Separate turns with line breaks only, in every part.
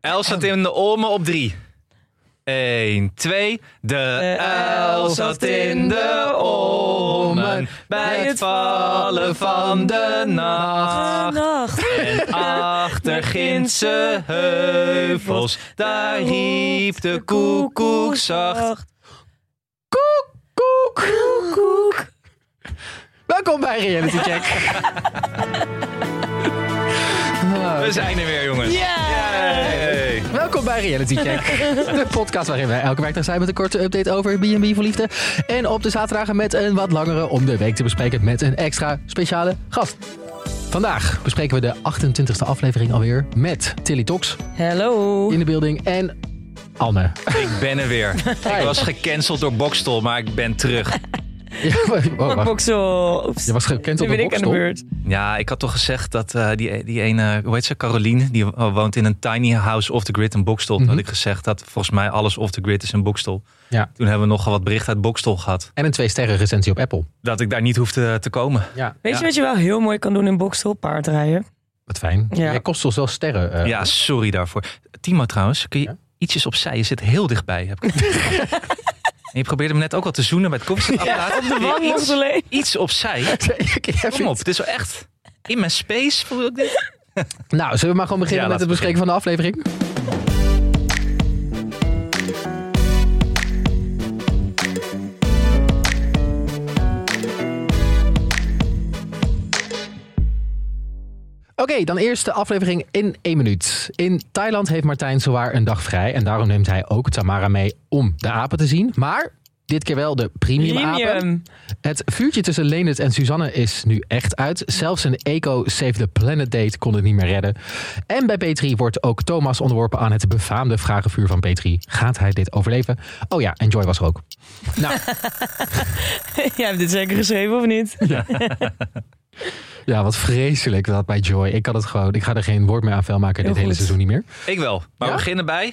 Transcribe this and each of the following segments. Els zat in de Olme op drie. 1, 2. De uil zat in de olmen bij het vallen van de nacht.
Nacht.
En achter Gindse heuvels, daar riep de koekoek zacht.
Koek.
Koek.
Welkom bij Reality Check.
We zijn er weer, jongens. Hey.
Welkom bij Reality Check, de podcast waarin wij elke werkdag zijn met een korte update over B&B voor liefde. En op de zaterdagen met een wat langere om de week te bespreken met een extra speciale gast. Vandaag bespreken we de 28e aflevering alweer met Tilly Tox
Hallo.
in de building en Anne.
Ik ben er weer. Ik was gecanceld door Bokstel, maar ik ben terug.
Ja, maar- oh, wacht.
Boksel. Oeps.
Je was gekend
Nu
op
ben
de
ik aan de
boksel.
beurt.
Ja, ik had toch gezegd dat eh, die, die ene, hoe heet ze, Caroline, die eh, woont in een tiny house off the grid in Bokstel. Toen
Mhm.
had ik gezegd dat volgens mij alles off the grid is in Bokstel.
Ja.
Toen hebben we nogal wat bericht uit Bokstel gehad.
En een twee sterren recensie op Apple.
Dat ik daar niet hoefde te komen.
Ja,
Weet
Ja.
je wat je wel heel mooi kan doen in Boksel? Paardrijden.
wat fijn.
Ja.
Jij kost ons wel sterren. eh.
Ja, sorry daarvoor. Timo trouwens, kun je
Ja?
ietsjes opzij? Je zit heel dichtbij. Heb ik... en je probeerde hem net ook al te zoenen met het koffiezetapparaat. op de
Wang ons
Iets,
alleen.
iets opzij. Kom op, het is wel echt in mijn space. Voel ik dit.
Nou, zullen we maar gewoon beginnen
Ja,
met
laten we
het bespreken van de aflevering? Oké, dan eerst de aflevering in één minuut. In Thailand heeft Martijn zowaar een dag vrij en daarom neemt hij ook Tamara mee om de apen te zien. Maar dit keer wel de premium apen.
Premium.
Het vuurtje tussen Leendert en Suzanne is nu echt uit. Zelfs een Eco Save the Planet date kon het niet meer redden. En bij Petri wordt ook Thomas onderworpen aan het befaamde vragenvuur van Petri. Gaat hij dit overleven? Oh ja, en Joy was er ook. Nou,
Jij hebt dit zeker geschreven of niet?
ja, wat vreselijk dat bij Joy. Ik kan het gewoon, ik ga er geen woord meer aan vuil maken dit
Heel
hele
goed.
seizoen niet meer.
Ik wel. Maar
Ja?
we beginnen bij. Oh,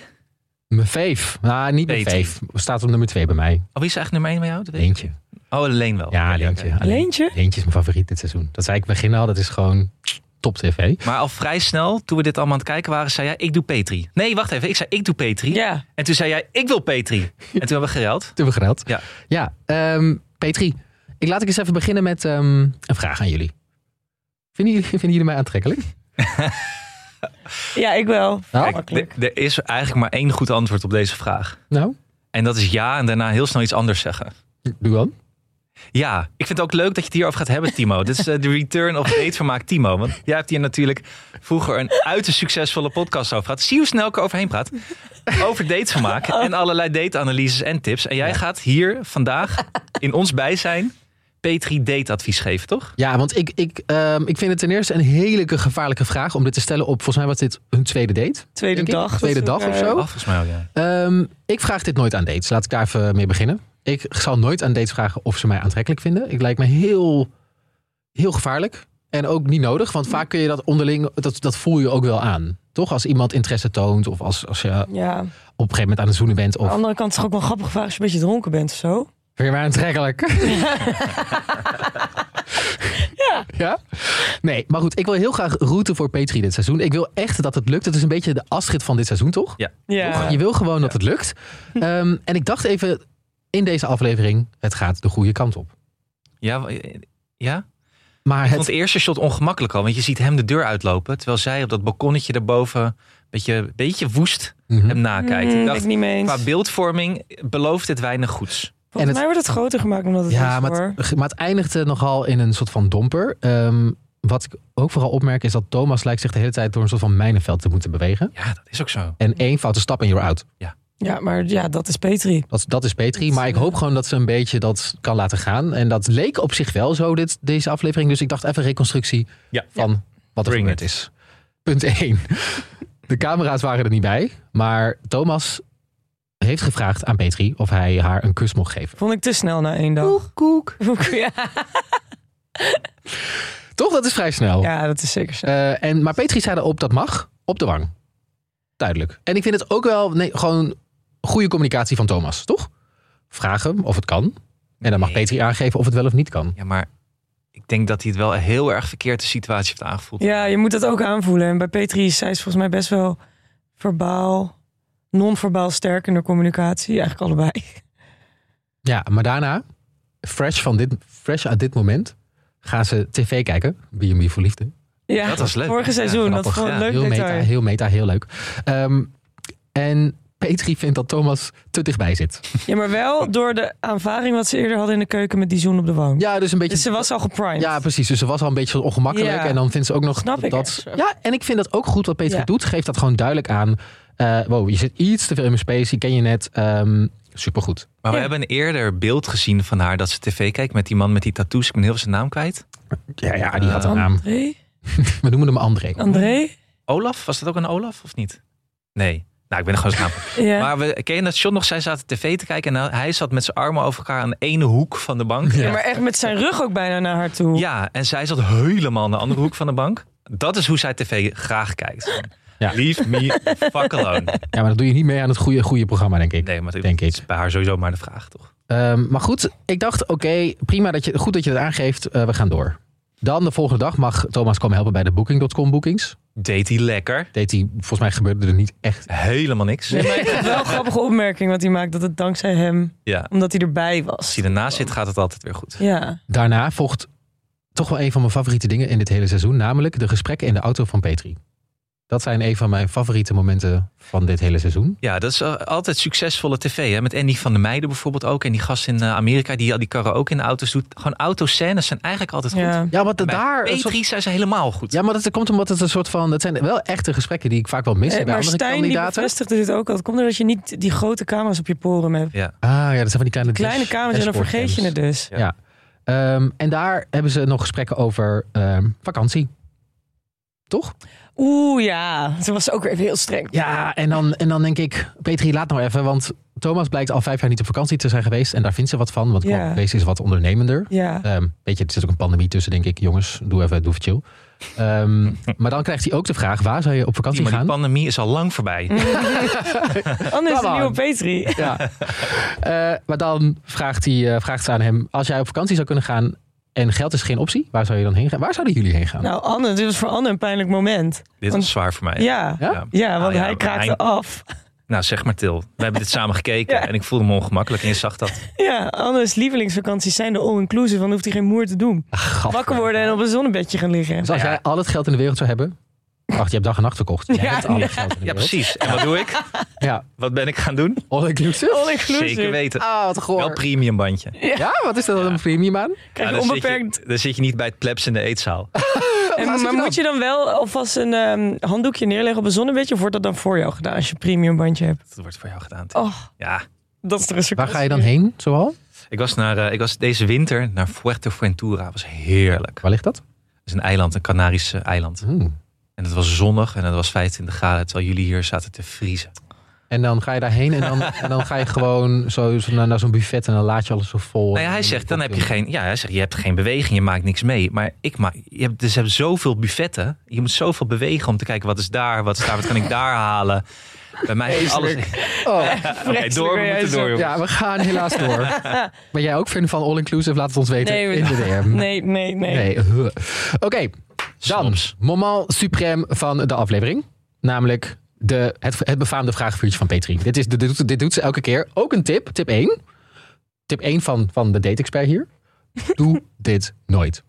Mijn veef. Nou, niet mijn
Petri.
veef. Staat op nummer twee bij mij.
Oh, wie is eigenlijk nummer 1 bij jou? Dat weet ik
Leentje.
niet. Oh, Leen wel.
Ja,
Oké,
Leentje.
oké.
Alleen-
Leentje?
Leentje is mijn favoriet dit seizoen. Dat zei ik in het begin al, dat is gewoon top tv.
Maar al vrij snel, toen we dit allemaal aan het kijken waren, zei jij: Ik doe Petri. Nee, wacht even. Ik zei: Ik doe Petri.
Ja.
En toen zei jij: Ik wil Petri. En toen hebben we gereld.
Toen we gereld.
Ja.
Ja, ehm, Petri. Ik laat ik eens even beginnen met ehm, een vraag aan jullie. Vinden jullie, vinden jullie mij aantrekkelijk?
Ja, ik wel.
Nou,
Kijk, d- er is eigenlijk maar één goed antwoord op deze vraag.
Nou,
En dat is ja, en daarna heel snel iets anders zeggen.
doe dan.
Ja, ik vind het ook leuk dat je het hierover gaat hebben, Timo. Dit is eh, de return of datevermaak Timo. Want jij hebt hier natuurlijk vroeger een uiterst succesvolle podcast over gehad. Zie hoe snel ik er overheen praat. Over datevermaak en allerlei dateanalyses en tips. En jij gaat hier vandaag in ons bijzijn Petri dateadvies geven, toch?
Ja, want ik, ik, ehm, ik vind het ten eerste een hele gevaarlijke vraag om dit te stellen op, volgens mij was dit hun tweede date.
Tweede
denk ik.
dag.
Tweede
dat we
dag of
elkaar-
zo.
Oh, volgens mij ook, ja.
Ehm, ik vraag dit nooit aan dates. Laat ik daar even mee beginnen. Ik zal nooit aan dates vragen of ze mij aantrekkelijk vinden. Ik lijkt me heel, heel gevaarlijk. En ook niet nodig, want vaak kun je dat onderling, dat, dat voel je ook wel aan. Toch? Als iemand interesse toont of als, als je
eh, Ja, aan
op een gegeven moment aan het zoenen bent.
de
Of
andere kant is het ook wel grappig vraag als je een beetje dronken bent of zo.
vind je mij aantrekkelijk? ja. ja. Nee, maar goed. Ik wil heel graag routen voor Petri dit seizoen. Ik wil echt dat het lukt. Het is een beetje de Astrid van dit seizoen, toch?
Ja.
Je wil gewoon dat het lukt. Ehm, en ik dacht even in deze aflevering, het gaat de goede kant op.
Ja, w- eh, ja?
Maar
Ik vond
het,
het eerste shot ongemakkelijk al. Want je ziet hem de deur uitlopen. Terwijl zij op dat balkonnetje daarboven een beetje, beetje woest
Mhm.
hem nakijkt.
Mm,
Ik
ben
dacht,
ik niet mee eens.
qua beeldvorming belooft het weinig goeds.
Volgens
het-
mij wordt het groter gemaakt omdat het
ja,
is
maar
hoor.
het, maar het eindigde nogal in een soort van domper. Ehm, wat ik ook vooral opmerk is dat Thomas lijkt zich de hele tijd door een soort van mijnenveld te moeten bewegen.
Ja, dat is ook zo.
En één foute stap en you're out.
Ja, maar ja, dat is Petri.
Dat, dat is eh, Petri. Maar ik hoop gewoon dat ze een beetje dat kan laten gaan. En dat leek op zich wel zo, dit, deze aflevering. Dus ik dacht even reconstructie
Ja.
van wat er
Bring
gebeurd
it.
is. Punt 1. De camera's waren er niet bij. Maar Thomas heeft gevraagd aan Petri of hij haar een kus mocht geven.
Vond ik te snel na één dag.
koek.
Ja,
Toch? Dat is vrij snel.
ja, dat is zeker snel.
Eh, en, maar Petri zei erop, dat mag. Op de wang. Duidelijk. En ik vind het ook wel nee, gewoon goede communicatie van Thomas, toch? Vraag hem of het kan. En dan mag
Nee.
Petri aangeven of het wel of niet kan.
Ja, maar ik denk dat hij het wel een heel erg verkeerde situatie heeft aangevoeld.
Ja, je moet dat ook aanvoelen. En bij Petri is zij is volgens mij best wel verbaal, non-verbaal sterk in de communicatie. Eigenlijk allebei.
Ja, maar daarna, fresh, van dit, fresh uit dit moment, gaan ze tv kijken. B&B voor liefde.
Ja,
Dat was leuk.
Vorig seizoen, dat
grappig,
was gewoon
ja.
een leuk
heel meta,
detail.
heel meta, heel leuk. Ehm, en Petri vindt dat Thomas te dichtbij zit.
Ja, maar wel door de aanvaring wat ze eerder hadden in de keuken met die zoen op de wang.
Ja, dus een beetje...
Dus ze was al geprimed.
ja, precies. Dus ze was al een beetje ongemakkelijk.
Ja.
En dan vindt ze ook nog
Snap ik
dat.
ergens wel.
Ja, en ik vind dat ook goed wat Petri
Ja.
doet. Geeft dat gewoon duidelijk aan. Eh, wow, je zit iets te veel in mijn space. Die ken je net. Ehm, supergoed.
Maar we
Ja.
hebben een eerder beeld gezien van haar dat ze tv kijkt met die man met die tattoos. Ik ben heel zijn naam kwijt.
Ja, ja, die had een
Eh,
naam.
André?
We noemen hem André.
André?
Olaf? Was dat ook een Olaf of niet? Nee. Nou, ik ben er gewoon zijn naam.
Ja.
Maar we ken je dat shot nog? Zij zaten tv te kijken en hij zat met zijn armen over elkaar aan de ene hoek van de bank.
Ja.
Ja, maar echt met zijn rug ook bijna naar haar toe.
Ja, en zij zat helemaal aan de andere hoek van de bank. Dat is hoe zij tv graag kijkt.
Ja.
Leave me the fuck alone.
Ja, maar dat doe je niet mee aan het goede, goede programma, denk ik.
Nee, maar dat
Denk ik.
is bij haar sowieso maar de vraag, toch?
Ehm, maar goed, ik dacht, oké, prima. Dat je, goed dat je het aangeeft. Eh, we gaan door. Dan de volgende dag mag Thomas komen helpen bij de Booking.com boekings.
Deed hij lekker?
Deed hij, volgens mij gebeurde er niet echt.
Helemaal niks.
Nee, maar ik vind het wel een grappige opmerking wat hij maakt. Dat het dankzij hem,
Ja.
omdat hij erbij
Als
was.
hij ernaast zit, gaat het altijd weer goed.
Ja.
Daarna volgt toch wel een van mijn favoriete dingen in dit hele seizoen. Namelijk de gesprekken in de auto van Petri. Dat zijn een van mijn favoriete momenten van dit hele seizoen.
Ja, dat is eh, altijd succesvolle tv. Hè? Met Andy van der Meijden bijvoorbeeld ook. En die gast in eh, Amerika die al die karaoke in de auto's doet. Gewoon autoscènes zijn eigenlijk altijd goed.
ja.
Ja, want
Bij
daar... een soort-
Petri zijn ze helemaal goed.
Ja, maar dat komt omdat het een soort van... Dat zijn wel echte gesprekken die ik vaak wel mis
Eh,
heb bij
maar
andere
Stijn die
kandidaten.
bevestigde dit ook al. Het komt doordat je niet die grote camera's op je poren hebt.
Ah ja, dat zijn van die kleine...
Kleine
dash-
camera's en dan
dashboardcams.
vergeet je het dus.
Ja.
Ehm, en daar hebben ze nog gesprekken over ehm, vakantie. Toch?
Oeh ja, ze was ook weer even heel streng.
Ja, en dan, en dan denk ik, Petri, laat nou even. Want Thomas blijkt al vijf jaar niet op vakantie te zijn geweest. En daar vindt ze wat van, want
Ja.
deze is wat ondernemender.
Ja.
Ehm, weet je, er zit ook een pandemie tussen, denk ik. Jongens, doe even, doe even chill. Ehm, maar dan krijgt hij ook de vraag, waar zou je op
Die,
vakantie
maar die
gaan?
pandemie is al lang voorbij.
Anne is
Come
de
on.
nieuwe Petri.
Ja. Eh, maar dan vraagt, hij, eh, vraagt ze aan hem, als jij op vakantie zou kunnen gaan en geld is geen optie, waar zou je dan heen gaan? Waar zouden jullie heen gaan?
Nou Anne, dit was voor Anne een pijnlijk moment.
Dit
Want-
was zwaar voor mij.
Ja.
Ja?
Ja, want
Nou ja,
hij kraakte
hij-
af.
Nou, zeg maar Til. We hebben dit samen gekeken
Ja.
en ik voelde me ongemakkelijk. En je zag dat.
Ja, Anne's lievelingsvakanties zijn de all-inclusive. Want dan hoeft hij geen moer te doen.
Gadver.
Wakker worden en op een zonnebedje gaan liggen.
Dus als
Ja.
jij al het geld in de wereld zou hebben... Wacht, je hebt dag en nacht verkocht. Jij
Ja,
hebt al
ja.
het geld in de
Ja,
wereld.
precies. En wat doe ik?
Ja,
Wat ben ik gaan doen?
all inclusive.
All-inclusive.
Zeker weten.
Ah, wat
Wel
goor.
premium bandje.
Ja, wat is dat dan een premium aan?
Krijg je
dan, zit
onbeperkt.
je, dan zit je niet bij het plebs in de eetzaal.
En,
Waar zit
maar
je
moet je dan wel alvast een ehm, handdoekje neerleggen op een zonnebedje? Of wordt dat dan voor jou gedaan als je een premium bandje hebt?
Dat wordt voor jou gedaan. Til.
Oh,
Ja,
dat is er een
Waar ga je dan heen, zoal?
ik was, naar, eh, ik was deze winter naar Fuerteventura. Dat was heerlijk.
Waar ligt dat?
Dat is een eiland, een Canarische eiland.
Hmm.
En het was zonnig en het was 25 graden. Terwijl jullie hier zaten te vriezen.
En dan ga je daarheen en dan, en dan ga je gewoon zo, zo naar, naar zo'n buffet en dan laat je alles zo vol.
Nou ja, hij zegt, dan heb je geen, ja, hij zegt, je hebt geen beweging, je maakt niks mee. Maar ik maak, je hebt, dus je hebt zoveel buffetten. Je moet zoveel bewegen om te kijken, wat is daar, wat is daar, wat kan ik daar halen. Bij mij is alles...
Oh,
Oké, door, we moeten door, jongens.
ja, we gaan helaas door. Ben jij ook fan van all inclusive? Laat het ons weten
Nee, we-
in de DM.
Nee, nee, nee.
Nee. huh. Oké, dan.
Soms.
Moment suprême van de aflevering. Namelijk de, het, het befaamde vragenvuurtje van Petri. Dit, is, dit, doet, dit doet ze elke keer. Ook een tip, tip 1. Tip 1 van, van de date-expert hier. Doe dit nooit.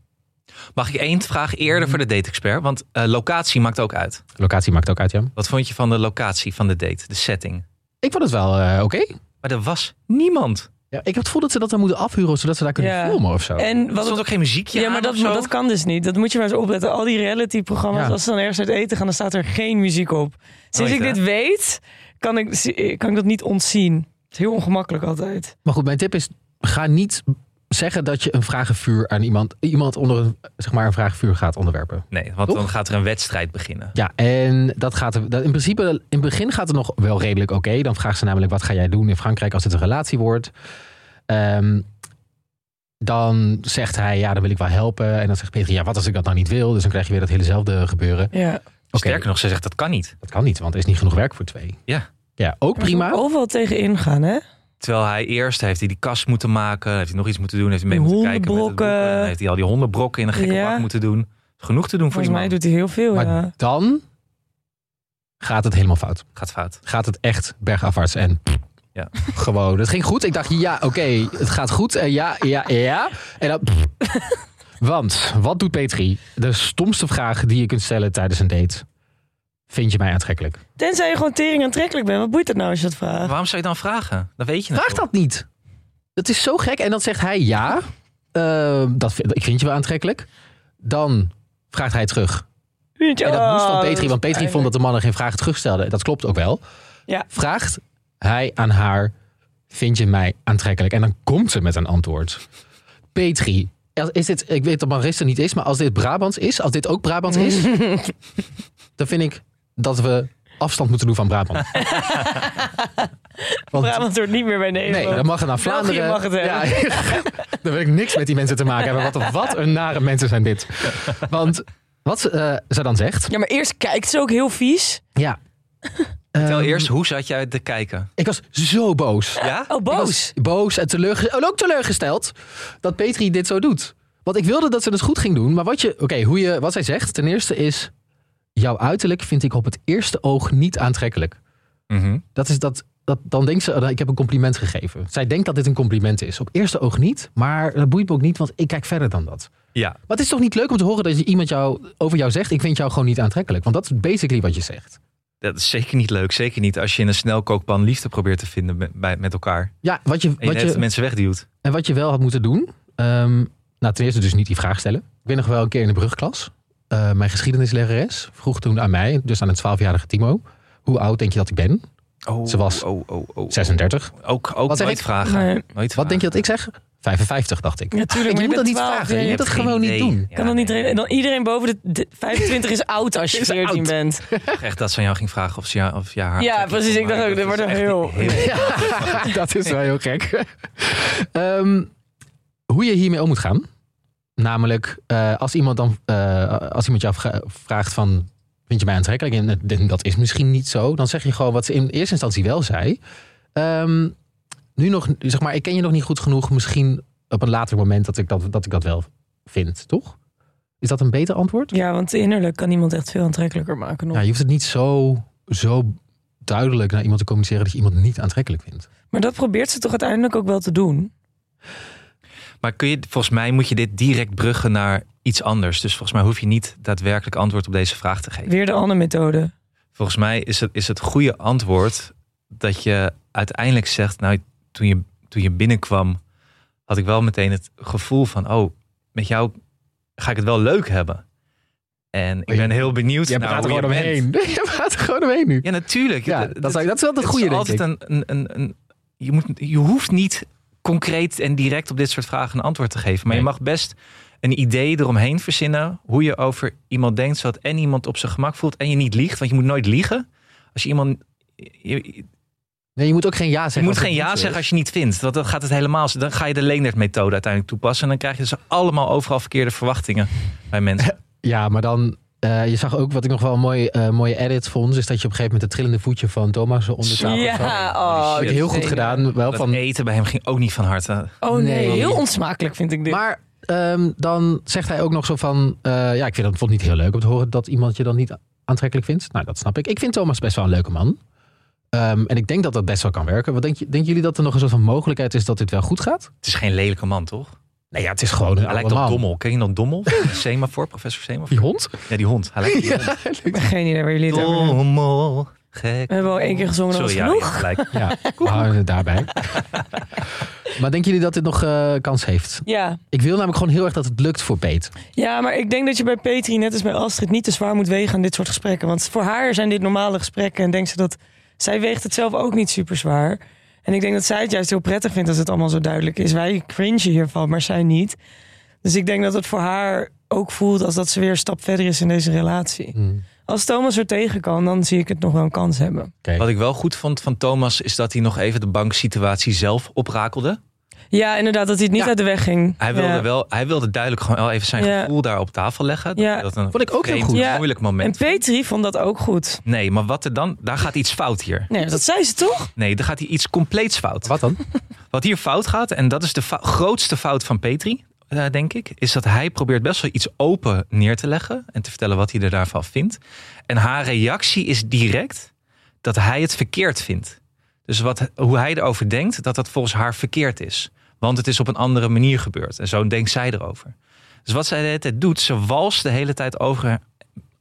Mag ik één vraag eerder voor de date-expert? Want eh, locatie maakt ook uit.
Locatie maakt ook uit, ja.
Wat vond je van de locatie van de date, de setting?
Ik vond het wel eh, oké.
Maar er was niemand.
Ja, ik heb het gevoel dat ze dat dan moeten afhuren, zodat ze daar kunnen
Ja.
filmen of zo.
En
Er
wat
stond ook geen muziekje
ja, maar
aan
dat,
of zo.
dat kan dus niet. Dat moet je maar eens opletten. Al die reality-programma's,
Ja.
als ze dan ergens uit eten gaan, dan staat er geen muziek op. Sinds
Nooit,
ik
hè?
dit weet, kan ik, eh, kan ik dat niet ontzien. Het is heel ongemakkelijk altijd.
Maar goed, mijn tip is, ga niet zeggen dat je een vragenvuur aan iemand, iemand onder een, zeg maar een vragenvuur gaat onderwerpen.
Nee, want
Toch?
dan gaat er een wedstrijd beginnen.
Ja, en dat gaat er, dat in principe, in het begin gaat het nog wel redelijk oké. Dan vraagt ze namelijk, wat ga jij doen in Frankrijk als het een relatie wordt? Ehm, dan zegt hij, ja, dan wil ik wel helpen. En dan zegt Peter, ja, wat als ik dat nou niet wil? Dus dan krijg je weer dat helezelfde gebeuren.
Ja.
Oké.
Sterker nog, ze zegt, dat kan niet.
Dat kan niet, want er is niet genoeg werk voor twee.
Ja.
Ja, ook prima.
Overal tegen ingaan, hè?
Terwijl hij eerst heeft hij die kast moeten maken, heeft hij nog iets moeten doen, heeft hij mee
Die
moeten kijken. Met het
hondenbrokken.
boeken, en heeft hij al die hondenbrokken in een gekke
Ja.
bak moeten doen. Genoeg te doen voor
Volgens mij
die man.
doet hij heel veel,
Maar
ja.
dan gaat het helemaal fout.
Gaat fout.
Gaat het echt bergafwaarts en...
Ja.
Gewoon, het ging goed. Ik dacht, ja, oké, het gaat goed. En ja, ja, ja. En dan... Want, wat doet Petri? De stomste vraag die je kunt stellen tijdens een date. Vind je mij aantrekkelijk?
Tenzij je gewoon tering aantrekkelijk bent. Wat boeit het nou als je dat vraagt?
Waarom zou je dan vragen? Dan weet je het
Vraag dat niet. Dat is zo gek. En dan zegt hij ja. Eh, dat, vind- ik vind je wel aantrekkelijk. Dan vraagt hij terug.
Vind je-
En dat
Oh,
moest van
dat
Petri,
is
want Petri vond dat de mannen geen vragen terugstelden. Dat klopt ook wel.
Ja.
Vraagt hij aan haar, vind je mij aantrekkelijk? En dan komt ze met een antwoord. Petri, als- is dit, ik weet dat Maristen niet is, maar als dit Brabants is, als dit ook Brabants is, dan vind ik dat we afstand moeten doen van Brabant. Want
Brabant hoort niet meer bij Nederland.
Nee, dan mag het naar
België
Vlaanderen.
mag het hebben.
Ja, dan wil ik niks met die mensen te maken hebben. Wat, wat een nare mensen zijn dit. Want wat ze, eh, ze dan zegt.
Ja, maar eerst kijkt ze ook heel vies.
Ja.
Tel
Ehm,
eerst, hoe zat jij te kijken?
Ik was zo boos.
Ja?
Oh,
Ik was
boos.
Boos en teleurgesteld. ook teleurgesteld dat Petri dit zo doet. Want ik wilde dat ze het goed ging doen. Maar wat, je, oké, hoe je, wat zij zegt, ten eerste is... Jouw uiterlijk vind ik op het eerste oog niet aantrekkelijk.
Mhm.
Dat is dat, dat, dan denkt ze, oh, ik heb een compliment gegeven. Zij denkt dat dit een compliment is. Op eerste oog niet, maar dat boeit me ook niet, want ik kijk verder dan dat.
Ja.
Maar het is toch niet leuk om te horen dat je iemand jou, over jou zegt, ik vind jou gewoon niet aantrekkelijk. Want dat is basically wat je zegt.
Dat is zeker niet leuk. Zeker niet als je in een snelkookpan liefde probeert te vinden met, bij- met elkaar.
Ja, wat je,
En je
wat
net
je,
mensen wegduwt.
en wat je wel had moeten doen, ehm, nou ten eerste dus niet die vraag stellen. Ik ben nog wel een keer in de brugklas. Eh, mijn geschiedenislerares vroeg toen aan mij, dus aan een 12-jarige Timo, hoe oud denk je dat ik ben?
Oh,
Ze was
oh, oh, oh, oh.
36.
Ook, ook
Wat zeg
nooit
ik?
vragen.
Nee.
Nooit
Wat
vragen.
denk je dat ik zeg? 55, dacht ik.
Natuurlijk,
Ik moet dat niet vragen. Je moet
hebt
dat
geen
gewoon niet
idee.
doen.
Ja,
kan dan niet
nee.
re- dan iedereen boven de de 25 is oud als je
Is
14
oud.
bent.
echt dat ze aan jou ging vragen of, ze jou, of ja, haar.
Ja, precies. Ik dacht ook, dit wordt een heel...
Ja, dat is wel heel gek. Ehm, hoe je hiermee om moet gaan. Namelijk, eh, als, iemand dan, eh, als iemand jou vra- vraagt van... Vind je mij aantrekkelijk? En het- en dat is misschien niet zo. Dan zeg je gewoon wat ze in eerste instantie wel zei. Ehm, nu nog, zeg maar, ik ken je nog niet goed genoeg. Misschien op een later moment dat ik dat, dat, ik dat wel vind, toch? Is dat een beter antwoord?
Ja, want innerlijk kan iemand echt veel aantrekkelijker maken. nog.
Ja, je hoeft het niet zo, zo duidelijk naar iemand te communiceren... dat je iemand niet aantrekkelijk vindt.
Maar dat probeert ze toch uiteindelijk ook wel te doen.
Maar kun je, volgens mij moet je dit direct bruggen naar iets anders. Dus volgens mij hoef je niet daadwerkelijk antwoord op deze vraag te geven.
Weer de Anne-methode.
Volgens mij is het, is het goede antwoord dat je uiteindelijk zegt: Nou, toen je, toen je binnenkwam, had ik wel meteen het gevoel van: Oh, met jou ga ik het wel leuk hebben. En ik
Oh, je-
ben heel benieuwd
Je
naar
praat er
Dus nou, hoe
gewoon
je bent.
omheen. Je praat er gewoon omheen nu.
Ja, natuurlijk.
Ja,
Het-
dat, is, dat is wel het goede,
is
denk ik.
altijd Een, een, een, een- je, moet, je hoeft niet concreet en direct op dit soort vragen een antwoord te geven. Maar je
Nee.
mag best een idee eromheen verzinnen. Hoe je over iemand denkt. Zodat en iemand op zijn gemak voelt. En je niet liegt. Want je moet nooit liegen. Als je iemand. Je, je
Nee, je moet ook geen ja zeggen.
moet
als het
geen
niet
ja
zo is.
zeggen als je niet vindt. Want dan gaat het helemaal. Dan ga je de Leendert-methode uiteindelijk toepassen. En dan krijg je dus allemaal overal verkeerde verwachtingen bij mensen.
Ja, maar dan... eh, je zag ook wat ik nog wel een mooi, eh, mooie edit vond. Is dat je op een gegeven moment het trillende voetje van Thomas onder de tafel zag. Dat
oh,
heb je heel goed gedaan. Wel
Dat
van,
eten bij hem ging ook niet van harte.
Oh nee,
Nee.
heel onsmakelijk vind ik dit.
maar ehm, dan zegt hij ook nog zo van... eh, ja, ik vind dat bijvoorbeeld niet heel leuk om te horen dat iemand je dan niet aantrekkelijk vindt. Nou, dat snap ik. Ik vind Thomas best wel een leuke man. Ehm, en ik denk dat dat best wel kan werken. Wat denk je, denken jullie dat er nog een soort van mogelijkheid is dat dit wel goed gaat?
Het is geen lelijke man, toch?
Nee, ja, het is gewoon een
Hij
oude
lijkt op
man.
Dommel. Ken je dan Dommel? Semafor, professor Semafor.
Die hond?
Ja, die hond. Hij lijkt op die hond.
Ik heb geen idee waar jullie het over hebben.
Dommel, gek.
We hebben al Oh, één keer gezongen, dat
Sorry,
was
ja,
genoeg.
ja, gelijk.
Ja, we houden het daarbij. maar denken jullie dat dit nog eh, kans heeft?
Ja.
Ik wil namelijk gewoon heel erg dat het lukt voor Peet.
ja, maar ik denk dat je bij Petri, net als bij Astrid, niet te zwaar moet wegen aan dit soort gesprekken. Want voor haar zijn dit normale gesprekken en denkt ze dat... Zij weegt het zelf ook niet super zwaar. En ik denk dat zij het juist heel prettig vindt als het allemaal zo duidelijk is. Wij cringen hiervan, maar zij niet. Dus ik denk dat het voor haar ook voelt als dat ze weer een stap verder is in deze relatie. Als Thomas er tegen kan, dan zie ik het nog wel een kans hebben.
Wat ik wel goed vond van Thomas is dat hij nog even de banksituatie zelf oprakelde.
Ja, inderdaad, dat hij het niet
Ja.
uit de weg ging.
Hij wilde,
Ja.
wel, hij wilde duidelijk gewoon wel even zijn
Ja.
gevoel daar op tafel leggen. Dat,
Ja.
dat een
Vond ik ook heel
vreemd,
goed.
Ja.
moeilijk
En
moment.
Petri vond dat ook goed.
Nee, maar wat er dan... Daar gaat iets fout hier.
Nee, dat zei ze toch?
Nee, daar gaat hij iets compleets fout.
Wat dan?
Wat hier fout gaat, en dat is de fou- grootste fout van Petri. eh, denk ik, is dat hij probeert best wel iets open neer te leggen en te vertellen wat hij er daarvan vindt. En haar reactie is direct dat hij het verkeerd vindt. Dus wat, hoe hij erover denkt, dat dat volgens haar verkeerd is. Want het is op een andere manier gebeurd. En zo denkt zij erover. Dus wat zij de hele tijd doet, ze walst de hele tijd over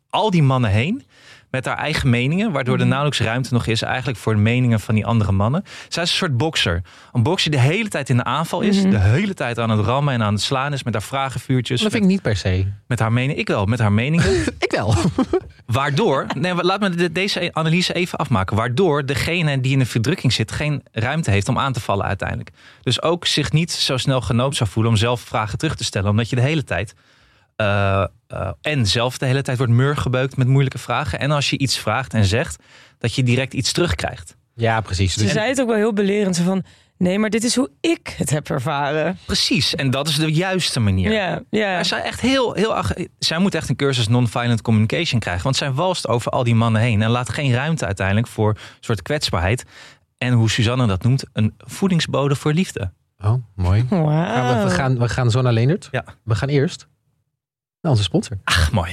al die mannen heen. Met haar eigen meningen, waardoor
Mhm.
er nauwelijks ruimte nog is eigenlijk voor de meningen van die andere mannen. Zij is een soort bokser. Een bokser die de hele tijd in de aanval
Mhm.
is, de hele tijd aan het rammen en aan het slaan is met haar vragenvuurtjes.
Dat
Met,
vind ik niet per se.
met haar mening. Ik wel, met haar meningen.
Ik wel.
Waardoor, nee, maar laat me de- deze analyse even afmaken. Waardoor degene die in de verdrukking zit geen ruimte heeft om aan te vallen uiteindelijk. Dus ook zich niet zo snel genoopt zou voelen om zelf vragen terug te stellen. Omdat je de hele tijd. eh, eh, en zelf de hele tijd wordt murgebeukt met moeilijke vragen. En als je iets vraagt en zegt, dat je direct iets terugkrijgt.
Ja, precies. Dus-
Ze zei het ook wel heel belerend. Zo van, nee, maar dit is hoe ik het heb ervaren.
Precies, en dat is de juiste manier.
Ja,
Maar
ja.
Zij, echt heel, heel, ag- zij moet echt een cursus non-violent communication krijgen. Want zij walst over al die mannen heen. En laat geen ruimte uiteindelijk voor een soort kwetsbaarheid. En hoe Suzanne dat noemt, een voedingsbode voor liefde.
Oh, mooi. Gaan we, we,
Wauw.
gaan, we gaan zo naar Leendert.
Ja.
We gaan eerst naar onze sponsor.
Ach, mooi.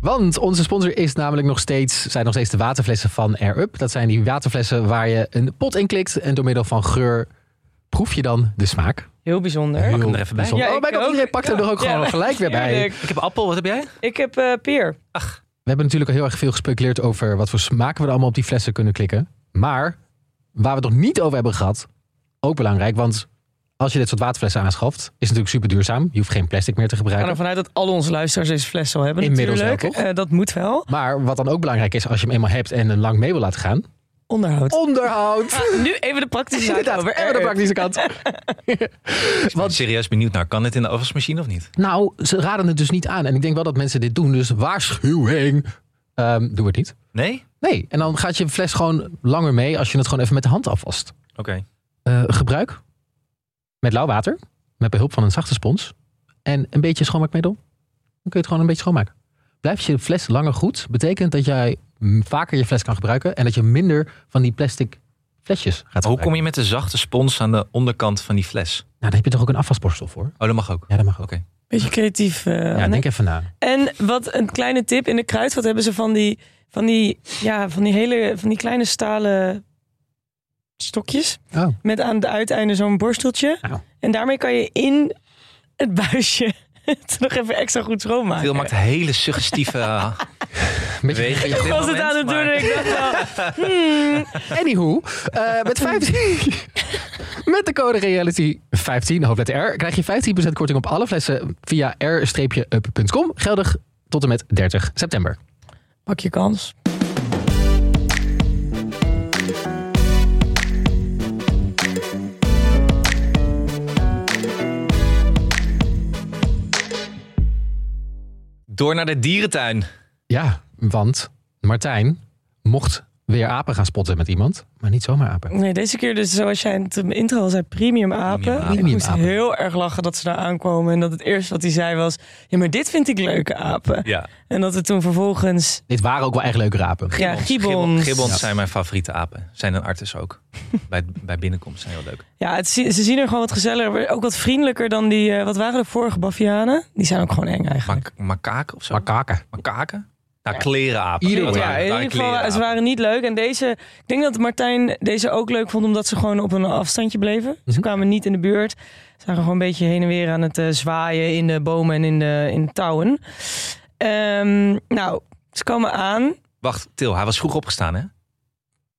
Want onze sponsor is namelijk nog steeds, zijn nog steeds de waterflessen van Air Up. Dat zijn die waterflessen waar je een pot in klikt en door middel van geur proef je dan de smaak.
Heel bijzonder.
Heel er even bij.
bijzonder.
Ja,
oh, mijn
ik
god,
ook.
iedereen pakt hem er ook
Ja.
gewoon gelijk weer bij.
Heerlijk.
Ik heb appel, wat heb jij?
Ik heb eh peer.
We hebben natuurlijk al heel erg veel gespeculeerd over wat voor smaken we er allemaal op die flessen kunnen klikken. Maar waar we het nog niet over hebben gehad, ook belangrijk, want als je dit soort waterflessen aanschaft, is het natuurlijk super duurzaam. Je hoeft geen plastic meer te
Ik
gebruiken.
ga ervan uit dat al onze luisteraars deze fles al hebben
Inmiddels wel,
natuurlijk. Eh, dat moet wel.
Maar wat dan ook belangrijk is als je hem eenmaal hebt en hem lang mee wil laten gaan.
Onderhoud.
Onderhoud!
Nu even de praktische zaak
Inderdaad,
over.
en Oh. de praktische kant.
Ik ben serieus benieuwd naar, kan dit in de afwasmachine of niet?
Nou, ze raden het dus niet aan. En ik denk wel dat mensen dit doen. Dus waarschuwing. Ehm, doe het niet.
Nee?
Nee, en dan gaat je fles gewoon langer mee als je het gewoon even met de hand afwast.
Oké.
Eh, gebruik met lauw water, met behulp van een zachte spons en een beetje schoonmaakmiddel. Dan kun je het gewoon een beetje schoonmaken. Blijft je fles langer goed, betekent dat jij mm, vaker je fles kan gebruiken en dat je minder van die plastic flesjes gaat
Hoe
gebruiken.
kom je met de zachte spons aan de onderkant van die fles?
Nou, daar heb je toch ook een afwasborstel voor?
Oh, dat mag ook.
Ja, dat mag ook.
Oké.
Beetje creatief. eh,
Ja,
Anne.
denk even na.
En wat een kleine tip in de kruidvat hebben ze van die, van die, ja, van die hele, van die kleine stalen stokjes
Oh.
met aan de uiteinden zo'n borsteltje.
Nou.
Oh.
En daarmee kan je in het buisje het nog even extra goed schoonmaken.
Wil maakt hele suggestieve eh,
Een beetje
bewegingen. op
Ik
dit
was het
moment,
aan het doen
maar-
en ik dacht nou, wel, hmm,
Anywho, eh, met 15. Met de code Reality15, hoofdletter R, krijg je 15% korting op alle flessen via r-up.com. Geldig tot en met 30 september.
pak je kans.
Door naar de dierentuin.
Ja, want Martijn mocht weer apen gaan spotten met iemand, maar niet zomaar apen.
Nee, deze keer dus zoals jij in het intro al zei, premium apen.
Premium apen.
Ik moest
Premium apen.
heel erg lachen dat ze daar aankwamen en dat het eerste wat hij zei was, ja, maar dit vind ik leuke apen.
Ja.
En dat het toen vervolgens
Dit waren ook wel echt leuke apen.
Ja, gibbons.
Gibbons
Ja.
zijn mijn favoriete apen. Zijn een artis ook. bij, bij binnenkomst zijn heel leuk.
Ja, het, zie- ze zien er gewoon wat gezelliger, ook wat vriendelijker dan die. eh, wat waren de vorige Bavianen? Die zijn ook gewoon eng eigenlijk.
Mak makaken of zo?
Maar kaken.
makaken? Nou, klerenapen.
Ieder
Dat
way.
waren-
ja, in
waren
ieder geval, ze
klerenapen.
waren niet leuk. En deze, ik denk dat Martijn deze ook leuk vond, omdat ze gewoon op een afstandje bleven. Ze
Mhm.
kwamen niet in de buurt. Ze waren gewoon een beetje heen en weer aan het eh, zwaaien in de bomen en in de, in de touwen. Ehm, nou, ze komen aan.
Wacht, Til, hij was vroeg opgestaan, hè?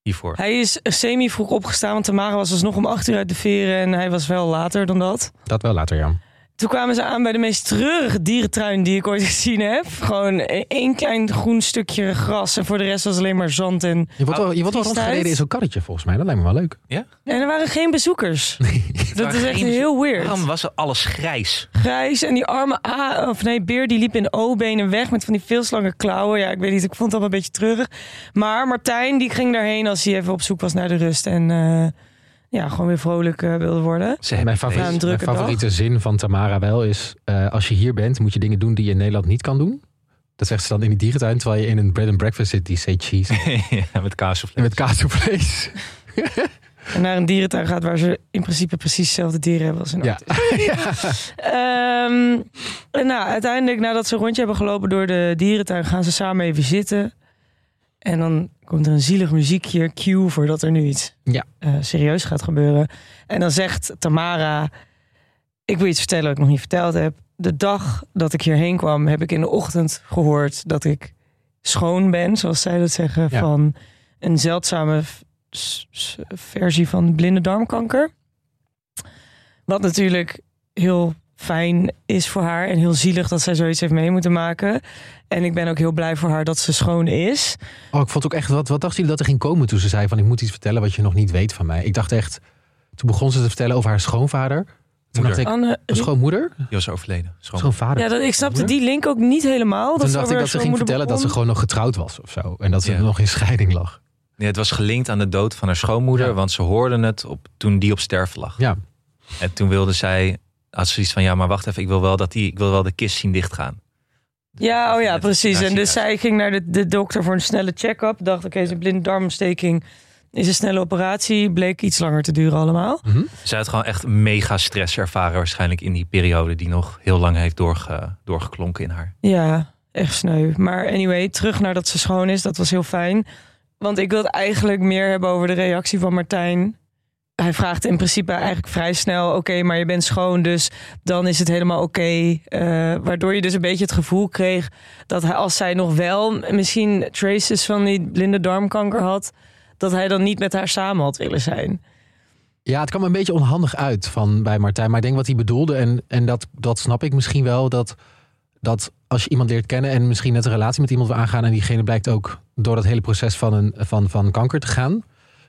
Hiervoor.
Hij is semi vroeg opgestaan, want Tamara was alsnog om acht uur uit de veren. En hij was wel later dan dat.
Dat wel later, Jan.
Toen kwamen ze aan bij de meest treurige dierentuin die ik ooit gezien heb. Gewoon e-, één klein groen stukje gras en voor de rest was alleen maar zand. En,
Je wordt wel, je wordt wel
Triest
rondgereden
uit.
in zo'n karretje volgens mij. Dat lijkt me wel leuk.
en er waren geen bezoekers. Dat
waren
is echt
geen
heel
Waarom
weird.
was er alles grijs?
Grijs en die arme A, of nee, beer die liep in O-benen weg met van die veel slange klauwen. Ja, ik weet niet, ik vond het allemaal een beetje treurig. Maar Martijn die ging daarheen als hij even op zoek was naar de rust. En eh, ja, gewoon weer vrolijk eh, wilde worden.
Ze hebben
Mijn,
deze-
favoriet-
Ja, een
mijn
drukke dag.
favoriete zin van Tamara wel is... eh, als je hier bent, moet je dingen doen die je in Nederland niet kan doen. Dat zegt ze dan in die dierentuin, terwijl je in een bread and breakfast zit die say cheese.
ja, met kaas of
En met kaassoufflés.
En naar een dierentuin gaat waar ze in principe precies dezelfde dieren hebben als in
Ja.
Ehm, en nou, uiteindelijk, nadat ze een rondje hebben gelopen door de dierentuin, gaan ze samen even zitten. En dan komt er een zielig muziekje, cue voordat er nu iets
Ja.
eh, serieus gaat gebeuren. En dan zegt Tamara, ik wil iets vertellen wat ik nog niet verteld heb. De dag dat ik hierheen kwam, heb ik in de ochtend gehoord dat ik schoon ben, zoals zij dat zeggen,
Ja.
van een zeldzame v- s- s- versie van blinde darmkanker. Wat natuurlijk heel fijn is voor haar en heel zielig dat zij zoiets heeft mee moeten maken. En ik ben ook heel blij voor haar dat ze schoon is.
Oh, ik vond ook echt, wat, wat dachten jullie dat er ging komen toen ze zei van ik moet iets vertellen wat je nog niet weet van mij. Ik dacht echt, toen begon ze te vertellen over haar schoonvader. Toen dacht ik,
Anne,
schoonmoeder?
Die was overleden. Schoon.
Schoonvader?
ja, dat, ik snapte die link ook niet helemaal.
toen
ze
dacht ik
over
dat ze
haar
ging
schoonmoeder
vertellen dat ze
begon.
gewoon nog getrouwd was of zo. En dat ze
Ja.
nog in scheiding lag.
Nee, het was gelinkt aan de dood van haar schoonmoeder,
Ja.
want ze hoorden het op, toen die op sterven lag.
Ja.
En toen wilde zij, had ze iets van, ja, maar wacht even, ik wil wel, dat die, ik wil wel de kist zien dichtgaan.
Ja, oh ja,
Net
precies.
naar
En dus
ziekenhuis.
zij ging naar de, de dokter voor een snelle check-up. Dacht, oké, is een blinde darmontsteking. Is een snelle operatie. Bleek iets langer te duren allemaal.
Mhm.
Zij had gewoon echt mega stress ervaren waarschijnlijk in die periode die nog heel lang heeft doorge, doorgeklonken in haar.
Ja, echt sneu. Maar anyway, terug naar dat ze schoon is. Dat was heel fijn. Want ik wil het eigenlijk meer hebben over de reactie van Martijn. Hij vraagt in principe eigenlijk vrij snel: oké, maar je bent schoon, dus dan is het helemaal oké. Eh, waardoor je dus een beetje het gevoel kreeg dat hij, als zij nog wel misschien traces van die blinde darmkanker had, dat hij dan niet met haar samen had willen zijn.
Ja, het kwam een beetje onhandig uit van bij Martijn. Maar ik denk wat hij bedoelde, en, en dat, dat snap ik misschien wel, dat, dat als je iemand leert kennen en misschien net een relatie met iemand wil aangaan en diegene blijkt ook door dat hele proces van, een, van, van kanker te gaan,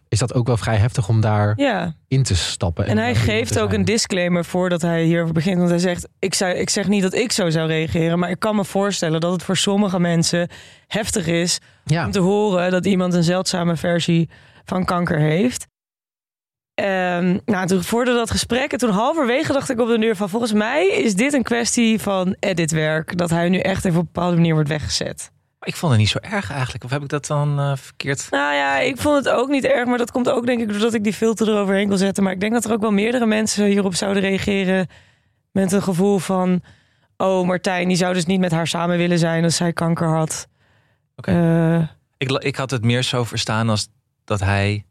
is dat ook wel vrij heftig om daarin
Ja.
te stappen.
En hij
daar voor te
geeft ook
zijn.
een disclaimer voordat hij hierover begint. Want hij zegt: ik, zou, ik zeg niet dat ik zo zou reageren. Maar ik kan me voorstellen dat het voor sommige mensen heftig is.
Ja,
om te horen dat iemand een zeldzame versie van kanker heeft. Ehm, nou, toen voerde dat gesprek. En toen halverwege dacht ik op de deur van... volgens mij is dit een kwestie van editwerk. Dat hij nu echt even op een bepaalde manier wordt weggezet.
Maar ik vond het niet zo erg eigenlijk. Of heb ik dat dan eh, verkeerd?
Nou ja, ik vond het ook niet erg. Maar dat komt ook denk ik doordat ik die filter eroverheen kon zetten. Maar ik denk dat er ook wel meerdere mensen hierop zouden reageren... met een gevoel van... oh, Martijn, die zou dus niet met haar samen willen zijn... als zij kanker had.
Oké.
Eh,
Ik, la- ik had het meer zo verstaan als dat hij,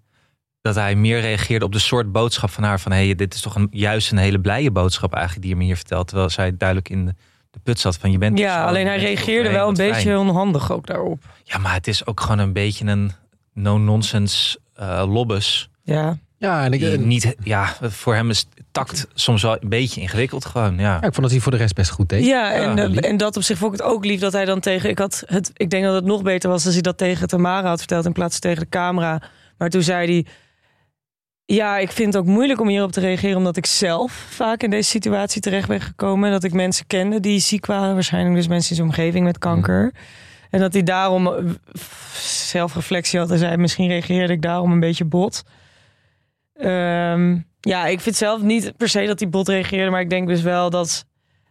dat hij meer reageerde op de soort boodschap van haar. Van hé, hey, dit is toch een, juist een hele blije boodschap eigenlijk die je me hier vertelt. Terwijl zij duidelijk in de, de put zat van je bent dus
ja,
persoon,
alleen
je
hij
bent
reageerde
overheen,
wel een
wat
beetje
fijn.
onhandig ook daarop.
Ja, maar het is ook gewoon een beetje een no-nonsense eh lobbes.
Ja,
ja en ik,
Die
en-
niet, ja, voor hem is tact soms wel een beetje ingewikkeld gewoon. Ja.
ja, ik vond dat hij voor de rest best goed deed.
ja en,
Ja,
eh,
lief.
en dat op zich vond ik het ook lief dat hij dan tegen... Ik, had het, ik denk dat het nog beter was als hij dat tegen Tamara had verteld... in plaats van tegen de camera. Maar toen zei hij... Ja, ik vind het ook moeilijk om hierop te reageren... omdat ik zelf vaak in deze situatie terecht ben gekomen. Dat ik mensen kende die ziek waren. Waarschijnlijk dus mensen in zijn omgeving met kanker. En dat hij daarom eh, f- zelfreflectie had en zei... misschien reageerde ik daarom een beetje bot. Ehm, ja, ik vind zelf niet per se dat hij bot reageerde... maar ik denk dus wel dat,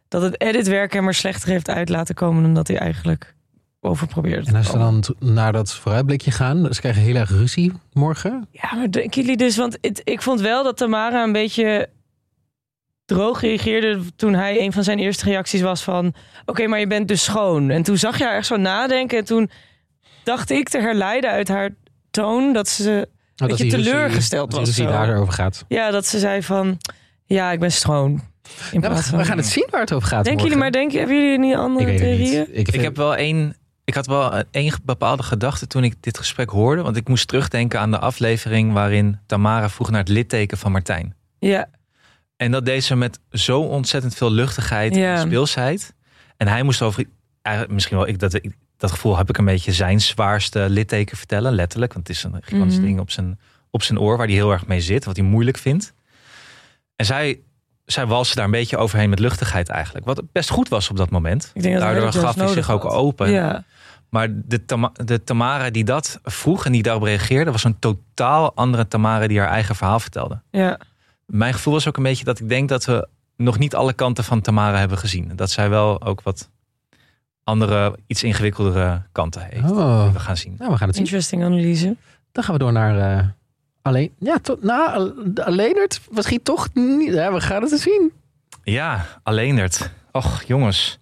dat het editwerk hem er slechter heeft uit laten komen... dan dat hij eigenlijk over probeerde
En
te
als we
komen.
dan t- naar dat vooruitblikje gaan, dus ze krijgen heel erg ruzie morgen.
Ja, maar denken jullie dus... Want het- ik vond wel dat Tamara een beetje droog reageerde... toen hij een van zijn eerste reacties was van... Oké, maar je bent dus schoon. En toen zag je haar echt zo nadenken... en toen dacht ik te herleiden uit haar toon... dat ze
Nou,
Beetje
die ruzie-
teleurgesteld
dat die
was
ruzie
zo.
daarover gaat.
Ja, dat ze zei van, ja, ik ben schoon. In
Nou,
plaats
we,
van-
we gaan het zien waar het over gaat.
denken jullie maar,
morgen.
denken, hebben jullie niet andere
ik weet het
theorieën?
niet. Ik,
Ik
vind-
heb wel één. Ik had wel één bepaalde gedachte toen ik dit gesprek hoorde. Want ik moest terugdenken aan de aflevering waarin Tamara vroeg naar het litteken van Martijn.
Ja,
En dat deed ze met zo ontzettend veel luchtigheid
Ja.
en speelsheid. En hij moest over. eigenlijk Misschien wel, ik, dat, ik- dat gevoel heb ik een beetje zijn zwaarste litteken vertellen, letterlijk. Want het is een gigantisch
Mhm.
ding op zijn, op zijn oor waar hij heel erg mee zit, wat hij moeilijk vindt. En zij, zij walste daar een beetje overheen met luchtigheid eigenlijk. Wat best goed was op dat moment.
ik denk dat
Daardoor
Harry Jones
gaf hij
nodig
zich ook
had.
open.
Ja.
Maar de, Tama- de Tamara die dat vroeg en die daarop reageerde, was een totaal andere Tamara die haar eigen verhaal vertelde.
Ja.
Mijn gevoel was ook een beetje dat ik denk dat we nog niet alle kanten van Tamara hebben gezien. Dat zij wel ook wat andere, iets ingewikkeldere kanten heeft.
Oh.
We gaan zien.
Nou, we gaan het zien.
Interesting analyse.
Dan gaan we door naar eh, alleen. Ja, tot, nou, eh, Leendert misschien toch niet. Ja, we gaan het eens zien.
Ja, Alleendert. Och, jongens.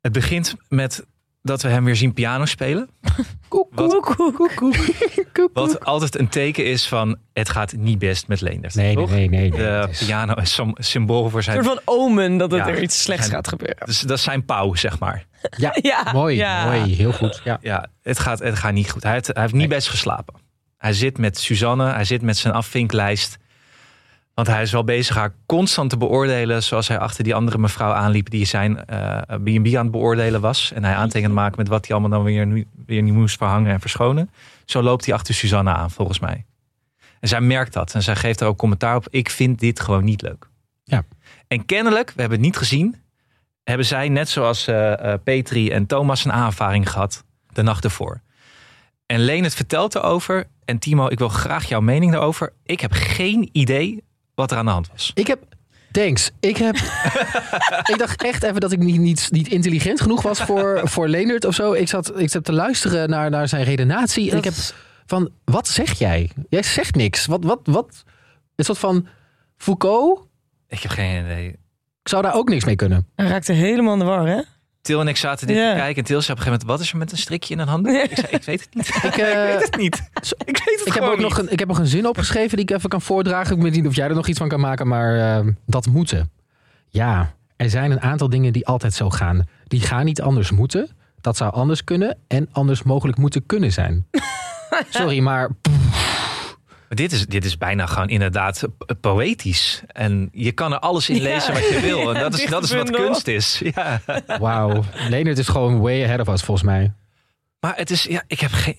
Het begint met dat we hem weer zien piano spelen.
Koek,
Wat-
koek, koek, koek, koek, koek, koek.
Wat altijd een teken is van het gaat niet best met Leendert.
Nee, nee,
toch?
nee, nee. nee.
De
Het is-
piano is som- symbool voor
Een
zijn...
soort van omen dat het
Ja.
er iets slechts
Zijn-
gaat gebeuren.
Dus dat is zijn pauw, zeg maar.
Ja,
Ja,
mooi,
ja.
mooi. Heel goed. Ja.
Ja, het gaat, het gaat niet goed. Hij heeft, hij heeft niet
Nee.
best geslapen. Hij zit met Suzanne, hij zit met zijn afvinklijst. Want hij is wel bezig haar constant te beoordelen. Zoals hij achter die andere mevrouw aanliep. die zijn eh, BB aan het beoordelen was. En hij aantekenen maken met wat hij allemaal dan weer, nu- weer niet moest verhangen en verschonen. Zo loopt hij achter Suzanne aan, volgens mij. En zij merkt dat. En zij geeft er ook commentaar op. Ik vind dit gewoon niet leuk.
Ja.
En kennelijk, we hebben het niet gezien. hebben zij, net zoals eh, eh, Petri en Thomas, een aanvaring gehad. de nacht ervoor. En Leen het vertelt erover. En Timo, ik wil graag jouw mening daarover. Ik heb geen idee wat er aan de hand was.
Ik heb. Thanks. Ik heb. ik dacht echt even dat ik niet, niet, niet intelligent genoeg was voor, voor Leendert of zo. Ik zat, ik zat te luisteren naar, naar zijn redenatie. En ik heb van, wat zeg jij? Jij zegt niks. Wat, wat, wat? Een soort van Foucault.
Ik heb geen idee.
Ik zou daar ook niks mee kunnen.
Hij raakte helemaal in de war, hè?
Til en ik zaten dit
Ja.
te kijken. En Til zei op een gegeven moment, wat is er met een strikje in een handdoek? Ik zei, ik weet het niet.
Ik, eh,
het niet. Ik weet het
ik, heb ook nog een, ik heb nog een zin opgeschreven die ik even kan voordragen. Ik weet niet of jij er nog iets van kan maken, maar eh, dat moeten. Ja, er zijn een aantal dingen die altijd zo gaan. Die gaan niet anders moeten. Dat zou anders kunnen en anders mogelijk moeten kunnen zijn. Sorry, maar
Maar dit, is, dit is bijna gewoon inderdaad po- poëtisch. En je kan er alles in
Ja.
lezen wat je wil. En dat is,
Ja,
dat is wat
dichtbundel.
kunst is. Ja.
wauw. Leonard is gewoon way ahead of us volgens mij.
Maar het is, ja, ik, heb geen,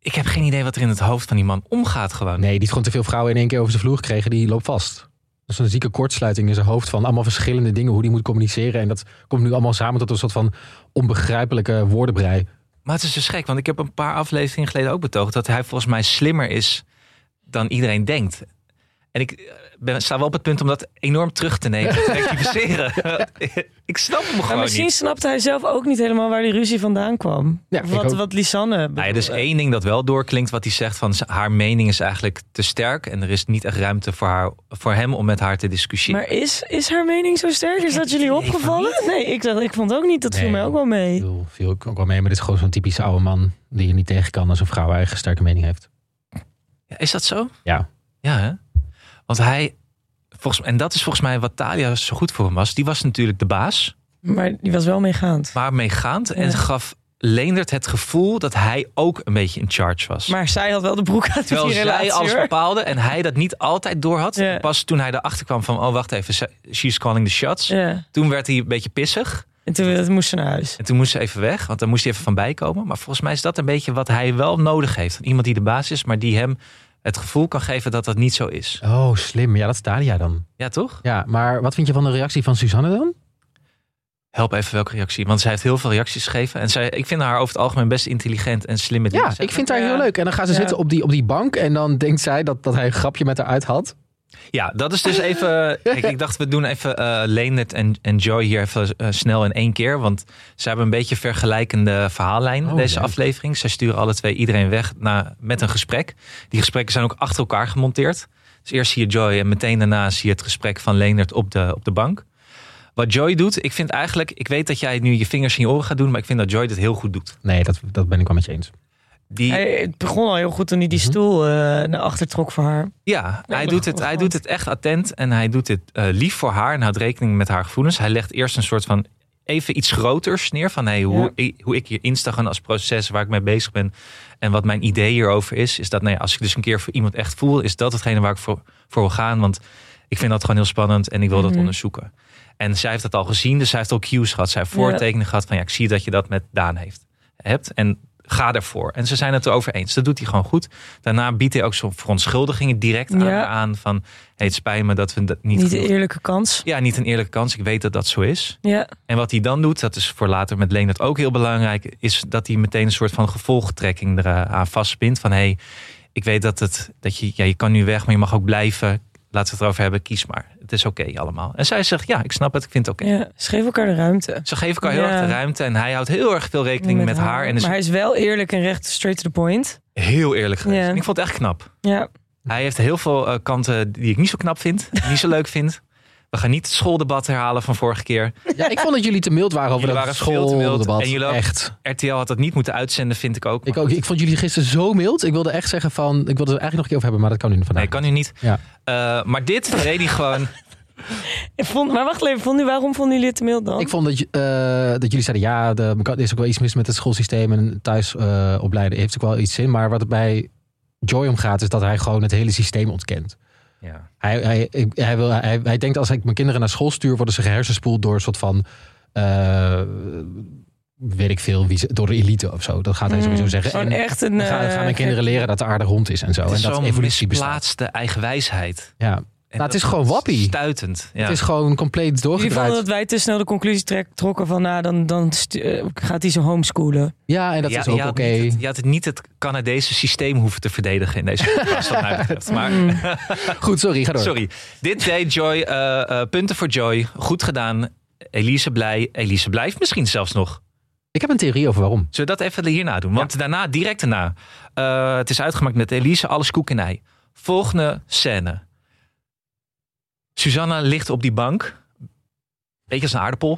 ik heb geen idee wat er in het hoofd van die man omgaat gewoon.
Nee, die heeft gewoon te veel vrouwen in één keer over zijn vloer gekregen. Die loopt vast. Dat is een zieke kortsluiting in zijn hoofd van allemaal verschillende dingen. Hoe die moet communiceren. En dat komt nu allemaal samen tot een soort van onbegrijpelijke woordenbrei.
Maar het is dus gek, want ik heb een paar afleveringen geleden ook betoogd dat hij volgens mij slimmer is dan iedereen denkt. En ik eh, ben, sta wel op het punt om dat enorm terug te nemen. en te rectificeren. ik snap hem
Maar
gewoon
misschien
niet.
snapte hij zelf ook niet helemaal waar die ruzie vandaan kwam.
Ja,
Of
ik
wat,
ook.
wat Lisanne
Nou ja, dus
bedoelde.
één ding dat wel doorklinkt wat hij zegt van z- haar mening is eigenlijk te sterk. En er is niet echt ruimte voor, haar, voor hem om met haar te discussiëren.
Maar is, is haar mening zo sterk? Is dat jullie opgevallen? Nee, ik, dacht, ik vond ook niet. Dat viel
Nee.
mij ook wel
Ik
mee.
bedoel, viel ik ook wel mee. Maar dit is gewoon zo'n typische oude man die je niet tegen kan als een vrouw eigen sterke mening heeft.
Ja, Is dat zo?
Ja.
Ja, hè? Want hij, volgens, en dat is volgens mij wat Talia zo goed voor hem was. Die was natuurlijk de baas.
Maar die was wel meegaand.
maar meegaand. En
Ja.
gaf Leendert het gevoel dat hij ook een beetje in charge was.
Maar zij had wel de broek uit
Terwijl
die
zij
relatie,
alles
hoor.
bepaalde en hij dat niet altijd door had.
Ja.
Pas toen hij erachter kwam van, oh wacht even, ze- she's calling the shots.
Ja.
Toen werd hij een beetje pissig.
En toen dat moest ze naar huis.
En toen moest ze even weg, want dan moest hij even van bijkomen. Maar volgens mij is dat een beetje wat hij wel nodig heeft. Iemand die de baas is, maar die hem het gevoel kan geven dat dat niet zo is.
Oh, slim. Ja, dat is Talia dan.
Ja, toch?
Ja, maar wat vind je van de reactie van Suzanne dan?
Help even welke reactie. Want zij heeft heel veel reacties gegeven. En zij, ik vind haar over het algemeen best intelligent en slim met dingen
Ja,
zeggen.
ik eh, vind haar
Ja.
heel leuk. En dan gaan ze
Ja.
zitten op die, op die bank en dan denkt zij dat, dat hij een grapje met haar uit had.
Ja, dat is dus even. Kijk, ik dacht, we doen even eh Leendert en, en Joy hier even eh, snel in één keer. Want ze hebben een beetje vergelijkende verhaallijn
Oh,
deze
leuk.
aflevering. Zij sturen alle twee iedereen weg na, met een gesprek. Die gesprekken zijn ook achter elkaar gemonteerd. Dus eerst zie je Joy en meteen daarna zie je het gesprek van Leendert op de, op de bank. Wat Joy doet, ik vind eigenlijk, ik weet dat jij nu je vingers in je oren gaat doen, maar ik vind dat Joy dit heel goed doet.
Nee, dat, dat ben ik wel met je eens.
Die,
Hij, het begon al heel goed toen hij die
Mhm.
stoel eh, naar achter trok voor haar.
Ja, hij,
dat
doet
is
het,
wel
hij
goed.
doet het echt attent en hij doet het eh, lief voor haar en houdt rekening met haar gevoelens. Hij legt eerst een soort van even iets groters neer van hey, hoe, ik, hoe ik hier insta gaan als proces waar ik mee bezig ben en wat mijn idee hierover is. Is dat nee, als ik dus een keer voor iemand echt voel, is dat hetgene waar ik voor, voor wil gaan. Want ik vind dat gewoon heel spannend en ik wil dat
Mhm.
onderzoeken. En zij heeft dat al gezien, dus zij heeft al cues gehad. Zij heeft
Ja.
voortekenen gehad van ja, ik zie dat je dat met Daan heeft, hebt. En ga daarvoor. En ze zijn het erover eens. Dat doet hij gewoon goed. Daarna biedt hij ook zo'n verontschuldigingen direct aan,
Ja.
haar aan. Van hey, het spijt me dat we dat niet,
Niet de
genoeg-
eerlijke kans.
Ja, niet een eerlijke kans. Ik weet dat dat zo is.
Ja.
En wat hij dan doet, dat is voor later met Leendert ook heel belangrijk, is dat hij meteen een soort van gevolgtrekking eraan vastspint. Van hé, hey, ik weet dat, het, dat je, ja, je kan nu weg, maar je mag ook blijven. laten we het erover hebben, kies maar. Het is oké allemaal. En zij zegt, ja, ik snap het, ik vind het oké.
Ja, ze geven elkaar de ruimte.
Ze geven elkaar heel
Ja.
erg de ruimte en hij houdt heel erg veel rekening met, haar. En
dus-
is
Maar hij is wel eerlijk en recht straight to the point.
heel eerlijk geweest.
Ja.
En ik vond het echt knap.
Ja,
Hij heeft heel veel eh, kanten die ik niet zo knap vind, die ik niet zo leuk vind. We gaan niet het schooldebat herhalen van vorige keer.
Ja, ik vond dat jullie te mild waren over
Jullie
dat
waren veel te mild
schooldebat.
en jullie ook.
Echt.
RTL had dat niet moeten uitzenden, vind ik ook.
Ik, ook, ik vond jullie gisteren zo mild. Ik wilde echt zeggen van, ik wilde het eigenlijk nog een keer over hebben, maar dat kan nu niet vandaag.
Nee, kan nu niet.
Ja.
Eh, maar dit deed hij gewoon.
Ik vond, maar wacht even, vond u, waarom vonden jullie het te mild dan?
Ik vond dat, je- eh, dat jullie zeiden, ja, de, er is ook wel iets mis met het schoolsysteem en thuis eh, opleiden heeft ook wel iets zin. Maar wat het bij Joy om gaat, is dat hij gewoon het hele systeem ontkent.
Ja.
Hij, hij, ik- hij, wil, hij, hij denkt als ik mijn kinderen naar school stuur, worden ze gehersenspoeld door een soort van. eh, weet ik veel, wie ze- door de elite of zo. Dat gaat hij
Mm,
sowieso zeggen.
Gewoon
En
echt een...
dan gaan, dan
eh,
gaan mijn kinderen leren dat de aarde rond is Oh, en zo.
Het
En
is
dat
zo'n
evolutie bestaat.
misplaatste eigenwijsheid.
Ja.
En
Nou, het
dat
is gewoon wappie.
Stuitend. Ja.
Het is gewoon compleet
Jullie vonden
doorgedraaid.
dat wij te snel de conclusie trek, trokken van, nou, dan, dan stu- eh, gaat hij ze homeschoolen.
Ja, en dat
Ja,
is ook
je
oké.
had niet het- Je had het niet het Canadese systeem hoeven te verdedigen in deze podcast, wat mij betreft. Maar
Goed, sorry, ga door.
sorry. Dit deed Joy. eh, eh, punten voor Joy. Goed gedaan. Elise blij. Elise blijft misschien zelfs nog.
Ik heb een theorie over waarom.
Zullen we dat even hierna doen? Want daarna, direct daarna. eh, het is uitgemaakt met Elise, alles koek en ei. Volgende scène. Susanna ligt op die bank. Beetje als een aardappel.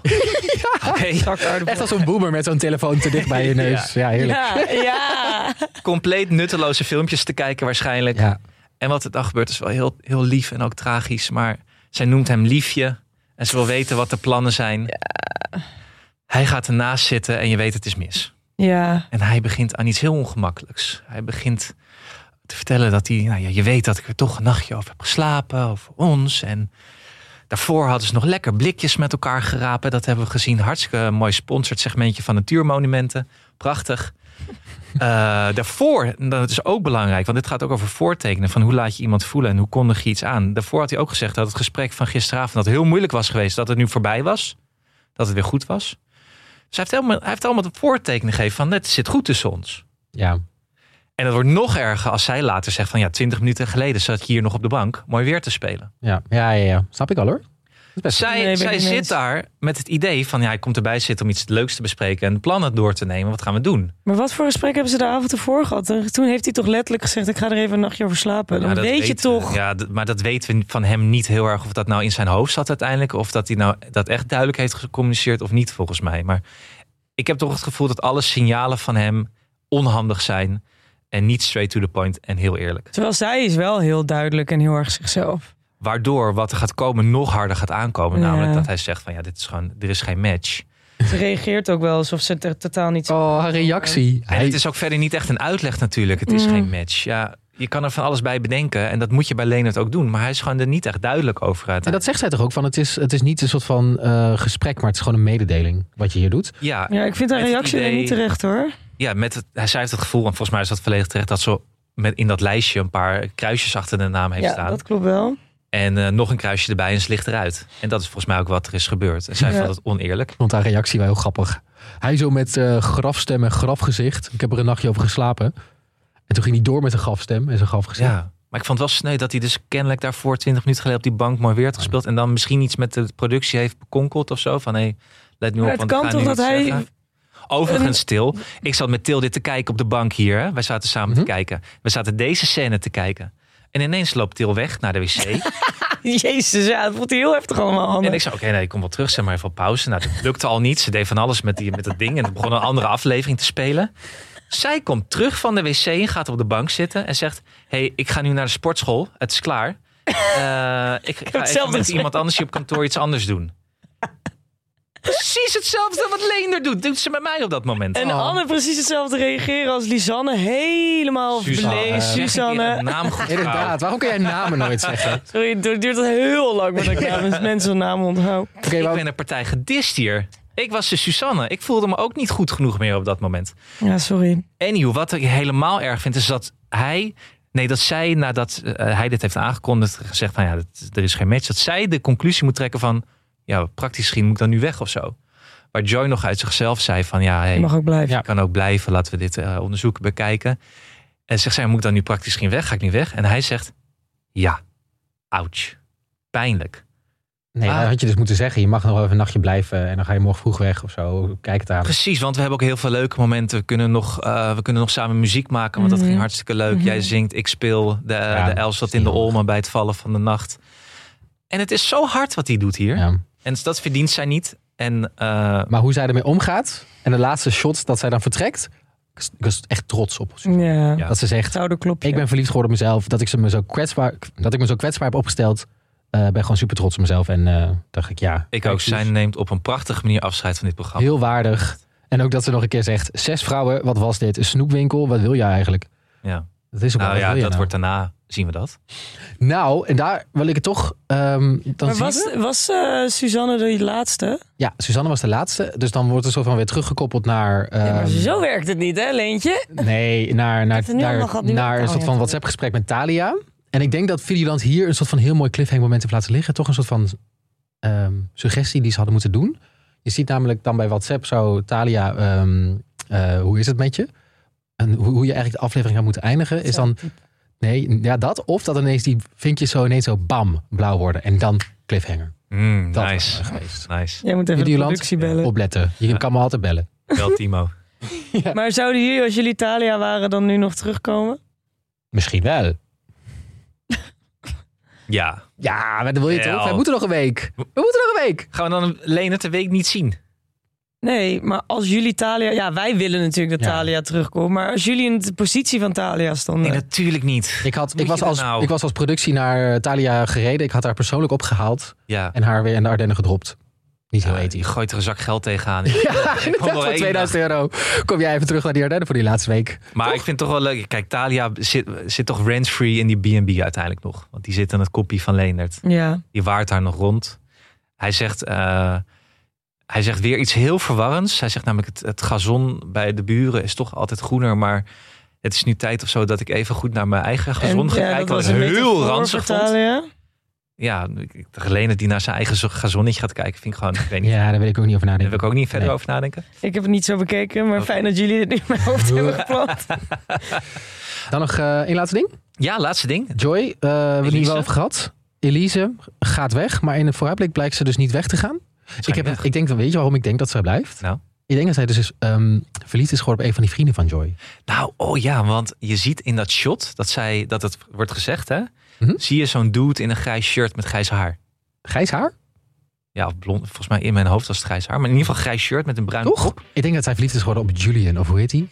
Oké,
Zak aardappel.
Echt als een boomer met zo'n telefoon te dicht bij je neus. Ja, heerlijk.
Ja, ja.
compleet nutteloze filmpjes te kijken waarschijnlijk.
Ja.
En wat er dan gebeurt is wel heel, heel lief en ook tragisch. Maar zij noemt hem liefje. En ze wil weten wat de plannen zijn. Hij gaat ernaast zitten en je weet het is mis.
Ja,
En hij begint aan iets heel ongemakkelijks. Hij begint te vertellen dat hij, nou ja, je weet dat ik er toch een nachtje over heb geslapen, over ons. En daarvoor hadden ze nog lekker blikjes met elkaar gerapen. Dat hebben we gezien. Hartstikke mooi sponsored segmentje van Natuurmonumenten. Prachtig. Eh, daarvoor, en dat is ook belangrijk, want dit gaat ook over voortekenen van hoe laat je iemand voelen en hoe kondig je iets aan. Daarvoor had hij ook gezegd dat het gesprek van gisteravond dat heel moeilijk was geweest, dat het nu voorbij was, dat het weer goed was. Dus hij heeft, helemaal, hij heeft allemaal de voortekenen gegeven van het zit goed tussen ons.
ja.
En dat wordt nog erger als zij later zegt van ja, 20 minuten geleden zat je hier nog op de bank mooi weer te spelen.
Ja, ja, ja, ja. Snap ik al hoor. Dat is best-
Zij,
Nee, ben ik
zij
niet mee
zit
eens.
daar met het idee van ja, hij komt erbij zitten om iets leuks te bespreken en plannen door te nemen. Wat gaan we doen?
maar wat voor gesprek hebben ze de avond ervoor gehad? En Toen heeft hij toch letterlijk gezegd, ik ga er even een nachtje over slapen. Dan
Ja, dat
weet je
weten we.
toch.
Ja, d- maar dat weten we van hem niet heel erg of dat nou in zijn hoofd zat uiteindelijk. Of dat hij nou dat echt duidelijk heeft gecommuniceerd of niet volgens mij. Maar ik heb toch het gevoel dat alle signalen van hem onhandig zijn. En niet straight to the point en heel eerlijk.
Terwijl zij is wel heel duidelijk en heel erg zichzelf.
Waardoor wat er gaat komen nog harder gaat aankomen.
Ja.
Namelijk dat hij zegt van ja, dit is gewoon, er is geen match.
Ze reageert ook wel alsof ze er totaal niet...
Oh, haar reactie.
En
Hij-
het is ook verder niet echt een uitleg natuurlijk. Het is
Mm.
geen match. Ja, je kan er van alles bij bedenken. En dat moet je bij Leonard ook doen. Maar hij is gewoon er niet echt duidelijk over.
en dat zegt zij toch ook van het is, het is niet een soort van eh, gesprek, maar het is gewoon een mededeling wat je hier doet.
Ja,
Ja, ik vind haar
Met het
reactie
idee-
niet terecht hoor.
ja met het, hij zij heeft het gevoel, en volgens mij is dat volledig terecht, dat ze met, in dat lijstje een paar kruisjes achter de naam heeft
Ja,
staan.
dat klopt wel.
En eh, nog een kruisje erbij en ze ligt eruit. En dat is volgens mij ook wat er is gebeurd. En zij
Ja.
vond het oneerlijk.
Want haar reactie wel heel grappig. Hij zo met eh, grafstem en grafgezicht. Ik heb er een nachtje over geslapen. En toen ging hij door met een grafstem en zijn grafgezicht.
Ja. Maar ik vond het wel sneu dat hij dus kennelijk daarvoor 20 minuten geleden op die bank mooi weer had gespeeld. En dan misschien iets met de productie heeft bekonkeld of zo. Van hé, hey, let nu
Maar
op.
het
want we
kan
gaan nu
toch
iets
dat hij-
zeggen. Overigens, Til. Ik zat met Til dit te kijken op de bank hier. Hè. Wij zaten samen
Mhm.
te kijken. We zaten deze scène te kijken. En ineens loopt Til weg naar de wc.
Jezus, ja, het voelt heel heftig allemaal. Hanne.
en ik zei, oké, nee, ik kom wel terug. Zeg maar even op pauze. Nou, dat lukte al niet. Ze deed van alles met, die, met dat ding. En er begon een andere aflevering te spelen. Zij komt terug van de wc en gaat op de bank zitten. En zegt, hé, hey, ik ga nu naar de sportschool. Het is klaar. Eh, ik ga
hetzelfde
even met
gezegd.
iemand anders hier op kantoor iets anders doen. Precies hetzelfde wat Leender doet. Doet ze met mij op dat moment.
En
Oh.
Anne precies hetzelfde reageren als Lisanne. Helemaal
Suzanne.
verlezen.
Oh,
Zeg
Zeg een keer
Suzanne.
een naam goed
Inderdaad, waarom kun jij namen nooit zeggen?
Sorry, het duurt al heel lang voordat ik namens mensen hun naam onthoud.
Oké,
Ik
maar-
ben een partij gedist hier. Ik was de Susanne. Ik voelde me ook niet goed genoeg meer op dat moment.
Ja, sorry.
Anywho, wat ik helemaal erg vind is dat hij... Nee, dat zij nadat eh, hij dit heeft aangekondigd... gezegd van ja, dat, er is geen match. Dat zij de conclusie moet trekken van... Ja, praktisch gezien moet ik dan nu weg of zo. Waar Joy nog uit zichzelf zei van... Ja, hey,
Je mag ook blijven.
Ja.
ik kan ook blijven. Laten we dit eh, onderzoek bekijken. En zegt zij, moet ik dan nu praktisch geen weg? Ga ik nu weg? En hij zegt, ja. ouch, pijnlijk.
Nee,
Ah.
dat had je dus moeten zeggen. Je mag nog even een nachtje blijven en dan ga je morgen vroeg weg of zo. Kijk het aan.
Precies, want we hebben ook heel veel leuke momenten. We kunnen nog, eh, we kunnen nog samen muziek maken, want dat
Mhm.
ging hartstikke leuk. Jij zingt, ik speel, de,
Ja,
de Els zat in de
heel erg.
olmen bij het vallen van de nacht. En het is zo hard wat hij doet hier.
Ja.
En dat verdient zij niet. En eh,
Maar hoe zij ermee omgaat en de laatste shot dat zij dan vertrekt. Ik was- ik was echt trots op.
Ja,
Ja.
Dat ze zegt,
het oude klopje.
ik ben verliefd geworden op mezelf. Dat ik, ze me zo kwetsbaar, dat ik me zo kwetsbaar heb opgesteld. eh ben gewoon super trots op mezelf. En eh, dacht ik, ja.
ik
kijk,
ook,
dus
zij neemt op een prachtige manier afscheid van dit programma.
Heel waardig. En ook dat ze nog een keer zegt, zes vrouwen, wat was dit? Een snoepwinkel, wat wil jij eigenlijk?
Ja.
Dat is ook wel,
Nou
wat
ja, dat
wil je nou?
wordt daarna, zien we dat.
Nou, en daar wil ik het toch... ehm dan
maar
zien
was,
we-
was eh, Suzanne de laatste?
Ja, Suzanne was de laatste. Dus dan wordt er soort van weer teruggekoppeld naar... ehm,
Ja, maar zo werkt het niet, hè, Leentje?
Nee, naar, naar,
Dat er nu allemaal
naar,
gaat- nu Oh,
naar een
allemaal
soort van
gaat.
WhatsApp-gesprek met Talia. En ik denk dat Videoland hier een soort van heel mooi cliffhanger moment heeft laten liggen. Toch een soort van ehm, suggestie die ze hadden moeten doen. Je ziet namelijk dan bij WhatsApp zo Talia, ehm, eh, hoe is het met je? En hoe, hoe je eigenlijk de aflevering had moeten eindigen. Is dan, nee, ja dat. Of dat ineens die vinkjes zo ineens zo bam, blauw worden. En dan cliffhanger.
Mm,
Dat was
nice,
mooi geweest.
nice.
Jij moet even de
Videoland?
productie bellen.
Opletten. Je
Ja.
kan me altijd bellen.
Wel Timo.
Maar zouden jullie, als jullie Italia waren, dan nu nog terugkomen?
Misschien wel.
Ja.
Ja, maar dat wil je
Ja.
toch? We moeten nog een week. We moeten nog een week.
Gaan we dan Leen het de week niet zien?
Nee, maar als jullie Thalia... Ja, wij willen natuurlijk dat
Ja.
Thalia terugkomt. Maar als jullie in de positie van Thalia stonden...
Nee, natuurlijk niet.
Ik, had,
Moet
ik, was
je dat
als,
nou?
ik was als productie naar eh, Thalia gereden. Ik had haar persoonlijk opgehaald
Ja.
en haar weer in de Ardennen gedropt. Niet heel
Ja,
ethisch.
je gooit er een zak geld tegenaan.
Ja,
wel
inderdaad, voor
één
2000 euro. Kom jij even terug naar die Ardennen voor die laatste week.
Maar ik vind het toch wel leuk. Kijk, Talia zit, zit toch rent-free in die B&B uiteindelijk nog. Want die zit aan het kopje van Leendert.
Ja.
Die waart daar nog rond. Hij zegt, eh, hij zegt weer iets heel verwarrends. Hij zegt namelijk, het, het gazon bij de buren is toch altijd groener. Maar het is nu tijd of zo dat ik even goed naar mijn eigen gazon ga
ja,
kijken. Wat ik
een
heel
metafoor
ranzig
voor
vond.
Thalia.
Ja, ik- ik- degene die naar zijn eigen zo- gazonnetje gaat kijken, vind ik gewoon, ik weet niet.
Ja, daar wil ik ook niet over
Daar
nadenken.
wil ik ook niet verder
Nee.
over nadenken.
Ik heb het niet zo bekeken, maar
Oké.
fijn dat jullie het in mijn hoofd hebben geplant.
Dan nog eh, één laatste ding.
Ja, laatste ding.
Joy, eh, we hebben het nu
Elise?
wel over gehad. Elise gaat weg, maar in het vooruitblik blijkt ze dus niet weg te gaan. Ik, heb,
weg?
ik denk, weet je waarom ik denk dat zij blijft?
Nou?
Ik denk dat zij dus is, ehm, verliefd is geworden op een van die vrienden van Joy.
Nou, oh ja, want je ziet in dat shot dat, zij, dat het wordt gezegd, hè?
Mhm.
Zie je zo'n dude in een grijs shirt met grijs haar?
Grijs haar?
Ja, of blond. Volgens mij in mijn hoofd was het grijs haar. Maar in ieder geval grijs shirt met een bruin
Toch?
kop.
Ik denk dat zij verliefd is geworden op Julian, of hoe heet die?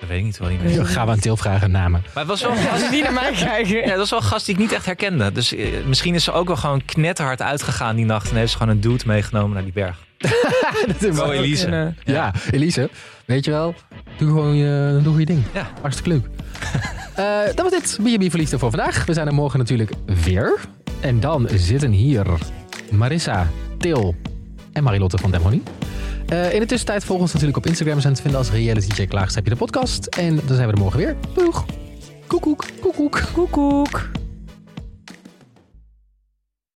Dat weet ik niet wel. niet meer.
Ja.
Gaan we aan Til vragen namen.
Maar het was wel, een
Als
gast,
jullie naar mij kijken.
ja, dat was wel een gast die ik niet echt herkende. Dus eh, misschien is ze ook wel gewoon knetterhard uitgegaan die nacht. En heeft ze gewoon een dude meegenomen naar die berg.
Dat is
Zo
wel-
Elise.
kunnen.
Oh, Ja, Elise, weet je wel, doe gewoon je, doe je ding.
Ja.
Hartstikke leuk. Eh, dat was dit, B&B Verliefde voor vandaag. We zijn er morgen natuurlijk weer. En dan zitten hier Marissa, Til en Marilotte van Demony. Eh, in de tussentijd volg ons natuurlijk op Instagram. We zijn te vinden als Reality Check Laagstreepje de podcast. En dan zijn we er morgen weer. Doeg! Koekoek, koekoek.
Koekoek.